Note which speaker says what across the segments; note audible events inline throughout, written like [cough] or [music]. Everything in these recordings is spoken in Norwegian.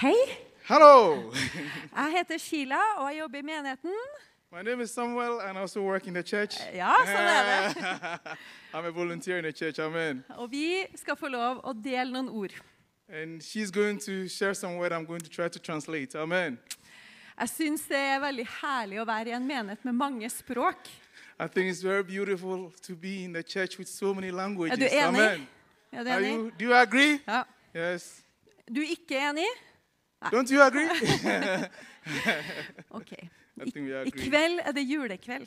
Speaker 1: Hei,
Speaker 2: Hello!
Speaker 1: jeg heter Sheila, og jeg jobber i menigheten.
Speaker 2: My name is Samuel, and I also work in the church.
Speaker 1: Ja, sånn er det.
Speaker 2: I'm a volunteer in the church, amen.
Speaker 1: Og vi skal få lov å dele noen ord.
Speaker 2: And she's going to share some word I'm going to try to translate, amen.
Speaker 1: Jeg syns det er veldig herlig å være i en menighet med mange språk.
Speaker 2: I think it's very beautiful to be in the church with so many languages,
Speaker 1: Er du enig?
Speaker 2: eh, amen.
Speaker 1: Er du
Speaker 2: Are
Speaker 1: enig?
Speaker 2: you, do you agree?
Speaker 1: Ja.
Speaker 2: Yes.
Speaker 1: Du er ikke enig?
Speaker 2: Don't you [laughs] agree?
Speaker 1: OK.
Speaker 2: I think we
Speaker 1: I
Speaker 2: agree.
Speaker 1: kveld er det julekveld.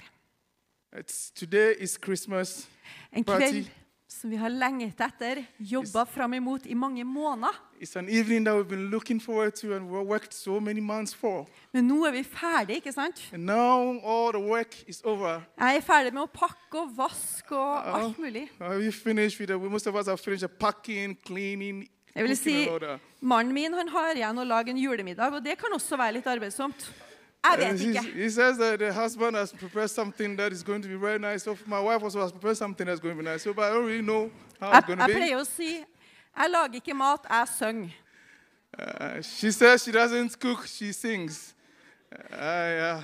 Speaker 2: It's, today is Christmas.
Speaker 1: En
Speaker 2: Party.
Speaker 1: kveld som vi har lengtet etter, jobba fram imot i mange måneder.
Speaker 2: It's an evening that we've been looking forward to and we worked so many months for.
Speaker 1: Men nå er vi ferdig, ikke sant?
Speaker 2: And now all the work is over.
Speaker 1: Jeg er ferdig med å pakke og vaske og
Speaker 2: Ja.
Speaker 1: alt mulig.
Speaker 2: Uh, we finished with the, most of us have finished the packing, cleaning,
Speaker 1: Jeg vil
Speaker 2: cooking
Speaker 1: si,
Speaker 2: and all that.
Speaker 1: mannen min han har igjen å lage en julemiddag, og det kan også være litt arbeidsomt. Jeg
Speaker 2: Uh,
Speaker 1: vet
Speaker 2: he,
Speaker 1: ikke.
Speaker 2: he says that the husband has prepared something that is going to be very nice. So my wife also has prepared something that's going to be nice. So, but I don't really know how it's
Speaker 1: Jeg,
Speaker 2: going to
Speaker 1: jeg
Speaker 2: be.
Speaker 1: pleier å si jeg lager ikke mat, jeg synger.
Speaker 2: Uh, she says she doesn't cook, she sings. Uh, yeah.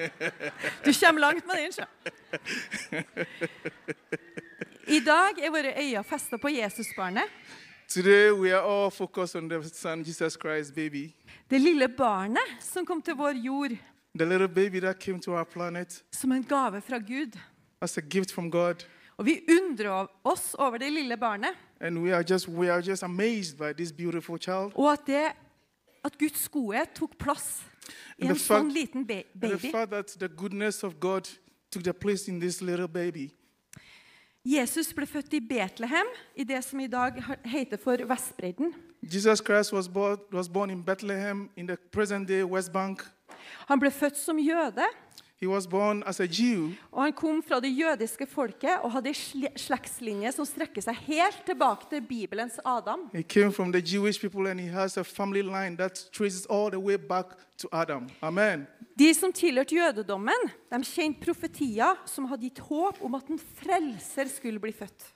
Speaker 2: [laughs]
Speaker 1: Du kommer langt med den, sjø. I dag er våre øyne festa på Jesusbarnet.
Speaker 2: Today we are all focused on the son Jesus Christ, baby,
Speaker 1: Det lille barnet som kom til vår jord
Speaker 2: the little baby that came to our planet
Speaker 1: som en gave fra Gud.
Speaker 2: as a gift from God.
Speaker 1: Og vi undrer oss over det lille barnet,
Speaker 2: And we are just we are just amazed by this beautiful child.
Speaker 1: og at, det, at Guds godhet tok plass i
Speaker 2: And
Speaker 1: en
Speaker 2: the fact-
Speaker 1: sånn liten ba
Speaker 2: And the
Speaker 1: baby.
Speaker 2: fact that the goodness of God took the place in this little baby.
Speaker 1: Jesus ble født i Betlehem, i det som i dag heter for Vestbredden.
Speaker 2: Jesus Christ was born, was born in Bethlehem in the present day West Bank.
Speaker 1: Han ble født som jøde,
Speaker 2: He was born as a Jew,
Speaker 1: og han kom fra det jødiske folket og hadde ei sle- slektslinje som strekker seg helt tilbake til Bibelens Adam.
Speaker 2: he came from the Jewish people, and he has a family line that traces all the way back to Adam. Amen.
Speaker 1: De som tilhørte jødedommen, de kjente profetier som hadde gitt håp om at en frelser skulle bli født.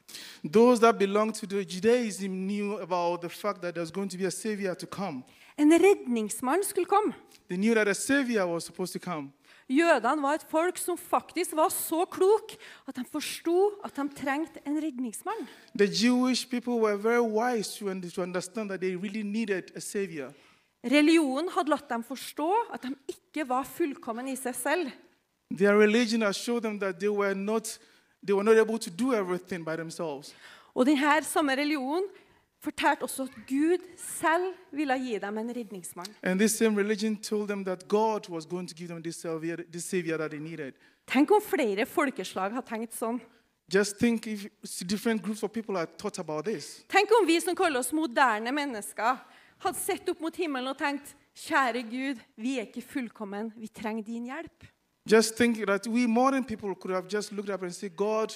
Speaker 2: Those that belong to the Judaism knew about the fact that there's going to be a savior to come.
Speaker 1: En redningsmann skulle komme.
Speaker 2: They knew that a savior was supposed to come.
Speaker 1: Jødene var et folk som faktisk var så klok at de forsto at de trengte en redningsmann.
Speaker 2: The Jewish people were very wise to, un- to understand that they really needed a savior.
Speaker 1: Religionen hadde latt dem forstå at de ikke var fullkommen i seg selv.
Speaker 2: Their religion has showed them that they were not they were not able to do everything by themselves.
Speaker 1: Og denne samme religionen fortalte også at Gud selv ville gi dem en redningsmann.
Speaker 2: And this same religion told them that God was going to give them this savior, this savior that they needed.
Speaker 1: Tenk om flere folkeslag har tenkt sånn.
Speaker 2: Just think if different groups of people had thought about this.
Speaker 1: Tenk om vi som kaller oss moderne mennesker, hadde sett opp mot himmelen og tenkt Kjære Gud, vi er ikke fullkommen. Vi trenger din hjelp.
Speaker 2: Just think that we modern people could have just looked up and said, God,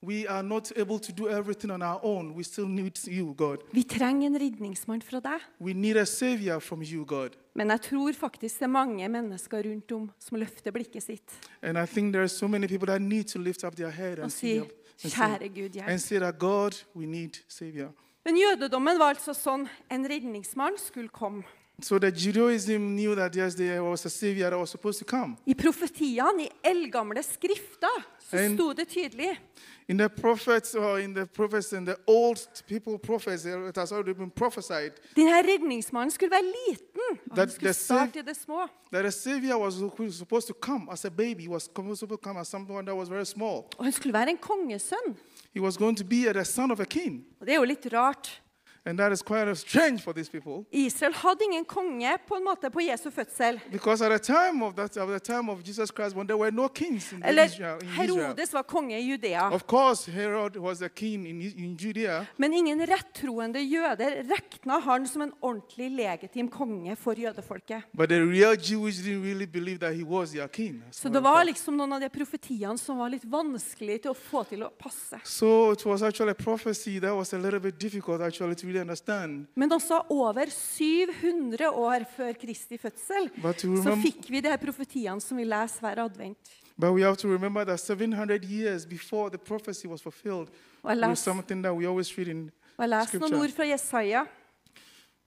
Speaker 2: we are not able to do everything on our own. We still need you, God.
Speaker 1: Vi trenger en redningsmann fra deg.
Speaker 2: We need a savior from you, God.
Speaker 1: Men jeg tror faktisk det er mange mennesker rundt om som løfter blikket sitt
Speaker 2: And I think there are so many people that need to lift up their head
Speaker 1: og
Speaker 2: and,
Speaker 1: [laughs]
Speaker 2: see
Speaker 1: sier,
Speaker 2: up, and, say,
Speaker 1: Kjære Gud, hjelp.
Speaker 2: and say that, God, we need savior.
Speaker 1: Men jødedommen var altså sånn en redningsmann skulle komme.
Speaker 2: So that Judaism knew that yes, there was a savior that was supposed to come.
Speaker 1: I profetiene, i eldgamle skrifter, så
Speaker 2: En-
Speaker 1: sto det tydelig
Speaker 2: In the prophets or in the prophets and the old people prophets, it has already been prophesied
Speaker 1: denne redningsmannen skulle være liten. og Han
Speaker 2: That-
Speaker 1: skulle
Speaker 2: the sav-
Speaker 1: starte i det små.
Speaker 2: that a savior was who was supposed to come as a baby, was supposed to come as someone that was very small.
Speaker 1: Og han skulle være en kongesønn.
Speaker 2: He was going to be the son of a king.
Speaker 1: Og det er jo litt rart.
Speaker 2: And that is quite strange for these people.
Speaker 1: Israel hadde ingen konge på en måte på Jesu fødsel.
Speaker 2: Because at the time of that, at the time of Jesus Christ, when there were no kings in,
Speaker 1: Eller
Speaker 2: Israel, in Israel,
Speaker 1: Herodes var konge i Judea.
Speaker 2: of course Herod was a king in, in Judea,
Speaker 1: Men ingen rettroende jøder regna han som en ordentlig legitim konge for jødefolket.
Speaker 2: but the real Jews didn't really believe that he was their king.
Speaker 1: Så det var liksom noen av de profetiene som var litt vanskelig til å få til å passe.
Speaker 2: So it was actually a prophecy that was a little bit difficult actually to really understand.
Speaker 1: Men også over 700 år før Kristi fødsel
Speaker 2: But to
Speaker 1: så
Speaker 2: remem-
Speaker 1: fikk vi de her profetiene som vi leser hver advent.
Speaker 2: But we have to remember that 700 years before the prophecy was fulfilled,
Speaker 1: Well,
Speaker 2: was
Speaker 1: that's-
Speaker 2: something that we always read in
Speaker 1: Og jeg leser noen
Speaker 2: scripture.
Speaker 1: ord fra Jesaja.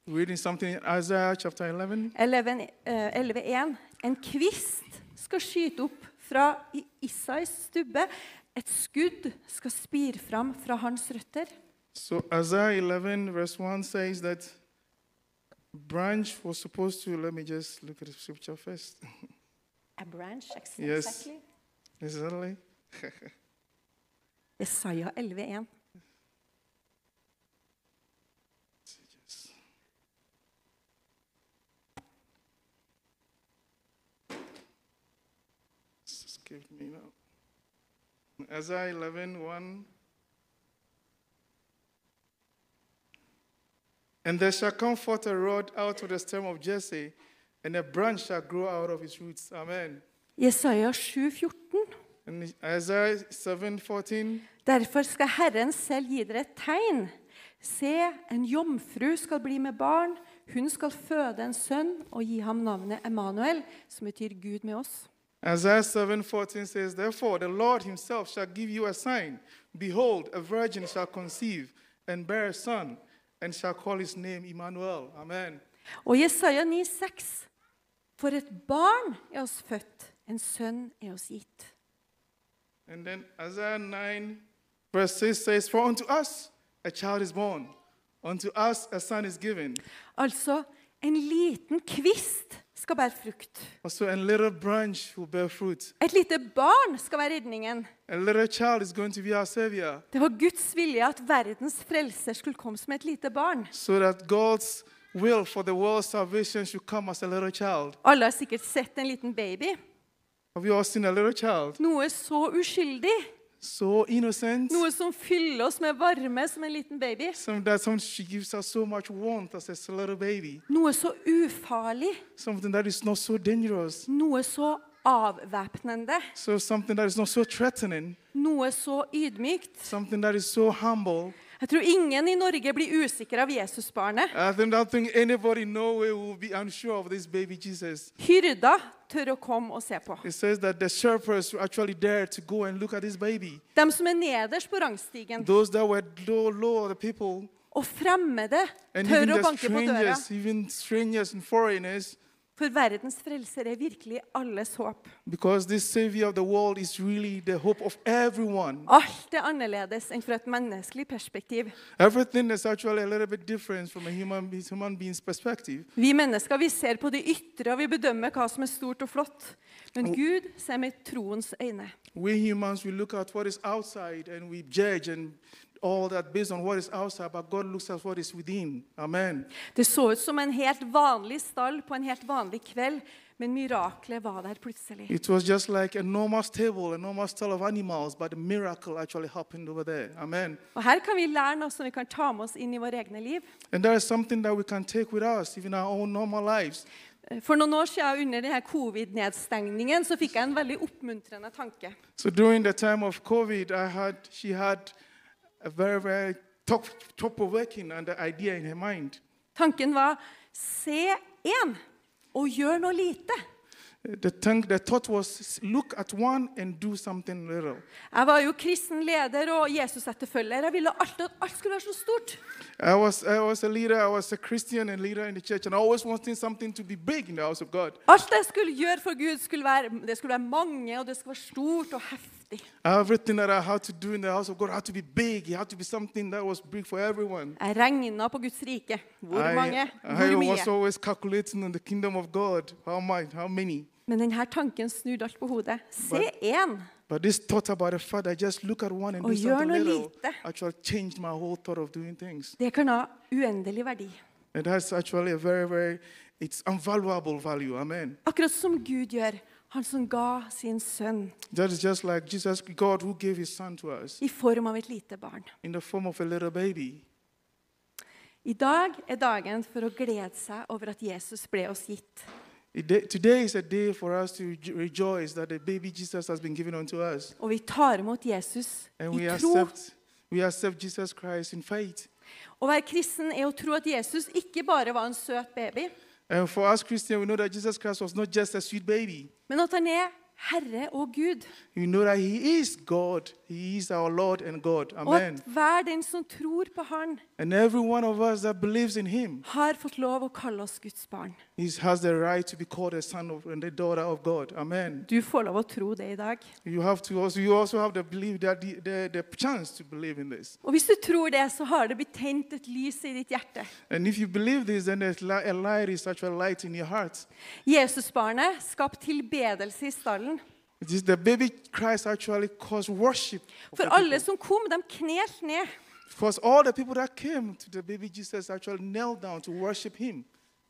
Speaker 2: Reading something in Isaiah chapter 11.
Speaker 1: 11, eh, 11.1. En kvist skal skyte opp fra I- Isais stubbe. Et skudd skal spire fram fra hans røtter.
Speaker 2: So Isaiah 11 verse 1 says that branch was supposed to, let me just look at the scripture first.
Speaker 1: A branch, ex-
Speaker 2: Yes.
Speaker 1: exactly.
Speaker 2: Is that right?
Speaker 1: Jesaja 11.1.
Speaker 2: Just give me now. Isaiah 11, 1. And there shall come forth a rod out of the stem of Jesse, and a branch shall grow out of its roots. Amen.
Speaker 1: Jesaja 7,14.
Speaker 2: And Isaiah 7, 14.
Speaker 1: Derfor skal Herren selv gi dere et tegn. Se, en jomfru skal bli med barn. Hun skal føde en sønn og gi ham navnet Emanuel, som betyr Gud med oss.
Speaker 2: Isaiah 7:14 says, "Therefore the Lord himself shall give you a sign: Behold, a virgin shall conceive and bear a son, and shall call his name Emmanuel." Amen.
Speaker 1: Og Jesaja 9,6.: For et barn er oss født, en sønn er oss gitt.
Speaker 2: And then Isaiah 9, verse 6 says, For unto us a child is born, unto us a son is given.
Speaker 1: Altså, en liten kvist skal bære frukt.
Speaker 2: Also, a little branch will bear fruit.
Speaker 1: Et lite barn skal være redningen.
Speaker 2: A little child is going to be our savior,
Speaker 1: Det var Guds vilje at verdens frelser skulle komme som et lite barn.
Speaker 2: so that God's will for the world's salvation should come as a little child.
Speaker 1: Alle har sikkert sett en liten baby.
Speaker 2: Have you all seen a little child?
Speaker 1: Noe så uskyldig.
Speaker 2: So innocent.
Speaker 1: Noe som fyller oss med varme som en liten baby.
Speaker 2: Some that some she gives us so much warmth as a little baby.
Speaker 1: Noe så ufarlig.
Speaker 2: Something that is not so dangerous.
Speaker 1: Noe så avvæpnende.
Speaker 2: So something that is not so threatening.
Speaker 1: Noe så ydmykt.
Speaker 2: Something that is so humble.
Speaker 1: Jeg tror ingen i Norge blir usikre av Jesusbarnet.
Speaker 2: I think, don't think anybody in Norway will be unsure of this baby Jesus.
Speaker 1: Hyrda tør å komme og se på.
Speaker 2: It says that the shepherds were actually there to go and look at this baby.
Speaker 1: De som er nederst på rangstigen,
Speaker 2: Those that were low, low, the people,
Speaker 1: og fremmede,
Speaker 2: and
Speaker 1: tør å
Speaker 2: even the
Speaker 1: banke på døra.
Speaker 2: strangers, even strangers and foreigners,
Speaker 1: For verdens frelser er virkelig alles håp.
Speaker 2: because this Savior of the world is really the hope of everyone.
Speaker 1: Alt er annerledes enn fra et menneskelig perspektiv.
Speaker 2: Everything is actually a little bit different from a human, be- human being's perspective.
Speaker 1: Vi mennesker vi ser på det ytre og vi bedømmer hva som er stort og flott. Men Gud ser med troens øyne.
Speaker 2: We humans, we look at what is outside and we judge and all that based on what is outside, but God looks at what is within. Amen.
Speaker 1: Det så ut som en helt vanlig stall på en helt vanlig kveld, men miraklet var der plutselig.
Speaker 2: It was just like a normal stable, a normal stall of animals, but a miracle actually happened over there. Amen.
Speaker 1: Og Her kan vi lære noe som vi kan ta med oss inn i våre egne liv.
Speaker 2: And that is something that we can take with us, even our own normal lives.
Speaker 1: For noen år siden under denne covid-nedstengningen så fikk jeg en veldig oppmuntrende tanke.
Speaker 2: So during the time of COVID, I had, she had a very, very top, top working and the idea in her mind.
Speaker 1: Tanken var se én og gjør noe lite.
Speaker 2: The, tank, the thought was look at one and do something little.
Speaker 1: Jeg var jo kristen leder og Jesus-etterfølger. Jeg ville alt, at alt skulle være så stort.
Speaker 2: I was, I was a leader, I was a Christian and leader in the church, and I always wanted something to be big in the house of God.
Speaker 1: Alt jeg skulle gjøre for Gud, skulle være, det skulle være mange, og det skulle være stort og heftig.
Speaker 2: Everything that I had to do in the house of God had to be big, it had to be something that was big for everyone.
Speaker 1: Jeg regna på Guds rike. Hvor mange?
Speaker 2: I, I
Speaker 1: Hvor
Speaker 2: was
Speaker 1: mye?
Speaker 2: always calculating on the kingdom of God, how much, how many.
Speaker 1: Men denne tanken snudde alt på hodet. Se
Speaker 2: But-
Speaker 1: én.
Speaker 2: But this thought about the fact that just look at one and
Speaker 1: Och
Speaker 2: do
Speaker 1: gör
Speaker 2: something
Speaker 1: något
Speaker 2: little
Speaker 1: lite.
Speaker 2: actually changed my whole thought of doing things.
Speaker 1: Det kan ha uendelig verdi.
Speaker 2: And that's actually a very, very, it's invaluable value. Amen.
Speaker 1: Akkurat som Gud gjør, han som ga sin sønn
Speaker 2: That is just like Jesus, God, who gave his son to us
Speaker 1: i form av et lite barn.
Speaker 2: in the form of a little baby.
Speaker 1: I dag er dagen for å glede seg over at Jesus ble oss gitt.
Speaker 2: It day- Today is a day for us to rejo- rejoice that the baby Jesus has been given unto us.
Speaker 1: Og vi tar imot Jesus
Speaker 2: And
Speaker 1: i
Speaker 2: we
Speaker 1: tro.
Speaker 2: accept, we accept Jesus Christ in faith.
Speaker 1: Å være kristen er å tro at Jesus ikke bare var en søt baby,
Speaker 2: And for us Christians, we know that Jesus Christ was not just a sweet baby.
Speaker 1: men at han er Herre og Gud.
Speaker 2: We know that he is God He is our Lord and God.
Speaker 1: Og at
Speaker 2: Amen.
Speaker 1: hver den som tror på Han,
Speaker 2: And every one of us that believes in Him
Speaker 1: har fått lov å kalle oss Guds barn.
Speaker 2: he has the right to be called a son of, and a daughter of God. Amen.
Speaker 1: Du får lov å tro det i dag.
Speaker 2: You have to also you also have the belief that the, the, the chance to believe in this.
Speaker 1: Og hvis du tror det, så har det blitt tent et lys i ditt hjerte.
Speaker 2: And if you believe this, then there's li- a light is such a light in your heart.
Speaker 1: Jesusbarnet skapte tilbedelse i stallen.
Speaker 2: It is the baby Christ actually caused worship. of
Speaker 1: For
Speaker 2: the
Speaker 1: alle
Speaker 2: people.
Speaker 1: som kom, de knelte ned.
Speaker 2: Because all the people that came to the baby Jesus actually knelt down to worship him.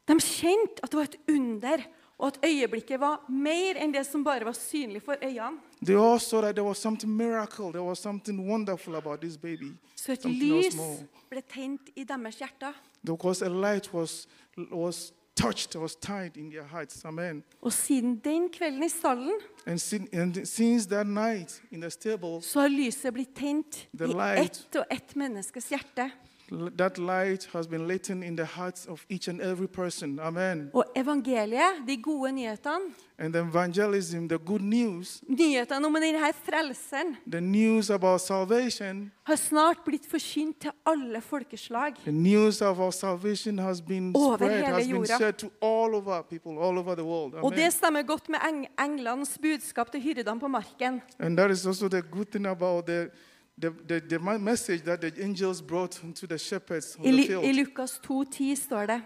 Speaker 1: De kjente at det var et under, og at øyeblikket var mer enn det som bare var synlig for øynene.
Speaker 2: They all saw that there was something miracle, there was something wonderful about this baby.
Speaker 1: Så et
Speaker 2: Something else
Speaker 1: lys
Speaker 2: more.
Speaker 1: ble tent i deres hjerter.
Speaker 2: Because a light was was touched, was tied in their hearts. Amen.
Speaker 1: Og siden den kvelden i stallen,
Speaker 2: And, sin, and since that night in the stable,
Speaker 1: så har lyset blitt tent
Speaker 2: The
Speaker 1: i
Speaker 2: light.
Speaker 1: ett og ett menneskes hjerte.
Speaker 2: L- That light has been lit in the hearts of each and every person. Amen.
Speaker 1: Og evangeliet, de gode nyhetene,
Speaker 2: And the evangelism, the good news,
Speaker 1: nyhetene om denne frelseren,
Speaker 2: the news about salvation,
Speaker 1: har snart blitt forsynt til alle folkeslag.
Speaker 2: the news of our salvation has been
Speaker 1: Over
Speaker 2: spread,
Speaker 1: hele
Speaker 2: has been
Speaker 1: jorda.
Speaker 2: shared to all over people, all over the world.
Speaker 1: Og det
Speaker 2: Amen.
Speaker 1: stemmer godt med eng englenes budskap til hyrdene på marken.
Speaker 2: And that is also the good thing about the, the, the, the ma- message that the angels brought to the shepherds on
Speaker 1: I,
Speaker 2: the
Speaker 1: Lu- i
Speaker 2: field.
Speaker 1: Lukas 2,10 står det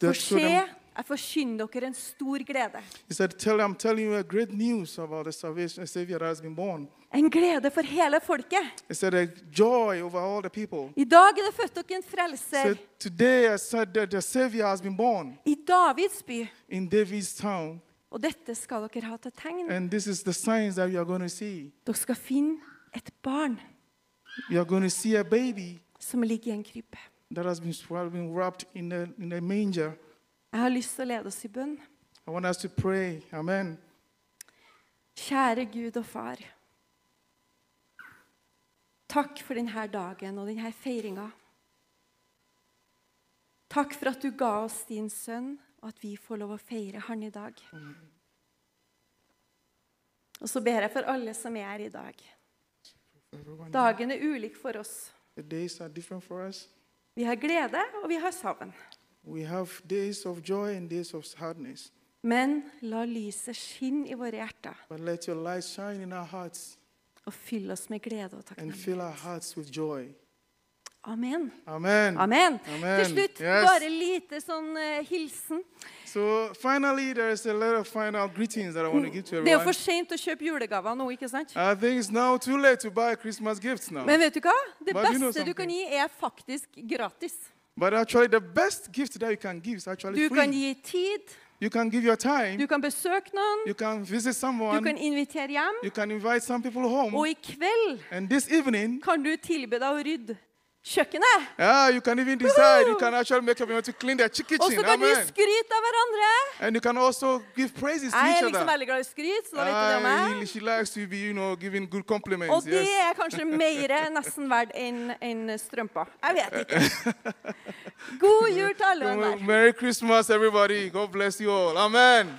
Speaker 2: That
Speaker 1: For
Speaker 2: showed
Speaker 1: se,
Speaker 2: them-
Speaker 1: jeg forkynner dere en stor glede.
Speaker 2: He said, Tell, I'm telling you a great news about the salvation, Savior that has been born.
Speaker 1: En glede for hele folket.
Speaker 2: He said, A joy over all the people.
Speaker 1: I dag er det født dere en
Speaker 2: So
Speaker 1: frelser.
Speaker 2: today I said that the Savior has been born
Speaker 1: I Davids by.
Speaker 2: in David's town,
Speaker 1: Og dette skal dere ha til tegn.
Speaker 2: and this is the signs that you are going to see.
Speaker 1: Dere skal finne et barn
Speaker 2: You are going to see a baby
Speaker 1: som ligger i en krype.
Speaker 2: that has been, swar- been wrapped in a, in a manger.
Speaker 1: Jeg har lyst til å lede oss i bønn.
Speaker 2: I want us to pray. Amen.
Speaker 1: Kjære Gud og Far. Takk for denne dagen og denne feiringa. Takk for at du ga oss din sønn, og at vi får lov å feire han i dag. Og så ber jeg for alle som er her i dag.
Speaker 2: Everyone,
Speaker 1: Dagen er ulik for oss.
Speaker 2: the days are different for us.
Speaker 1: Vi har glede, og vi har savn.
Speaker 2: We have days of joy and days of sadness.
Speaker 1: Men la lyset skinne i våre hjerter,
Speaker 2: But let your light shine in our hearts
Speaker 1: og fyll oss med glede og
Speaker 2: and fill our
Speaker 1: takknemlighet.
Speaker 2: hearts with joy.
Speaker 1: Amen.
Speaker 2: Amen.
Speaker 1: Amen.
Speaker 2: Amen.
Speaker 1: Til slutt,
Speaker 2: Yes.
Speaker 1: bare lite sånn eh, hilsen.
Speaker 2: So finally, there is a little final greetings that I want to give to
Speaker 1: Det er jo
Speaker 2: everyone.
Speaker 1: for sent å kjøpe julegaver nå, ikke sant?
Speaker 2: I think it's now too late to buy Christmas gifts now.
Speaker 1: Men vet du hva? Det
Speaker 2: But you know
Speaker 1: beste du kan gi, er faktisk gratis.
Speaker 2: But actually, the best gift that you can give is
Speaker 1: Du
Speaker 2: actually
Speaker 1: kan
Speaker 2: free.
Speaker 1: gi tid,
Speaker 2: You can give your time.
Speaker 1: du kan besøke noen,
Speaker 2: You can Oh, visit
Speaker 1: du
Speaker 2: someone.
Speaker 1: kan invitere hjem.
Speaker 2: You can invite some people home.
Speaker 1: Og i kveld
Speaker 2: And this evening,
Speaker 1: kan du tilby deg å rydde kjøkkenet.
Speaker 2: ah, you can even decide. You can actually make up your mind to clean the chi-
Speaker 1: Og så
Speaker 2: kitchen.
Speaker 1: kan du
Speaker 2: Amen.
Speaker 1: skryte av hverandre.
Speaker 2: And you can also give praises to
Speaker 1: Jeg
Speaker 2: each
Speaker 1: er liksom
Speaker 2: other.
Speaker 1: veldig glad i skryt, så da vet du det om
Speaker 2: Ah, he-
Speaker 1: meg.
Speaker 2: she likes to be, you know, giving good
Speaker 1: Og
Speaker 2: compliments.
Speaker 1: det
Speaker 2: Yes.
Speaker 1: er kanskje mer
Speaker 2: [laughs]
Speaker 1: nesten verdt enn enn strømpa. Jeg vet ikke.
Speaker 2: [laughs]
Speaker 1: God jul til alle og enhver.
Speaker 2: Merry Christmas, everybody. God bless you all. Amen.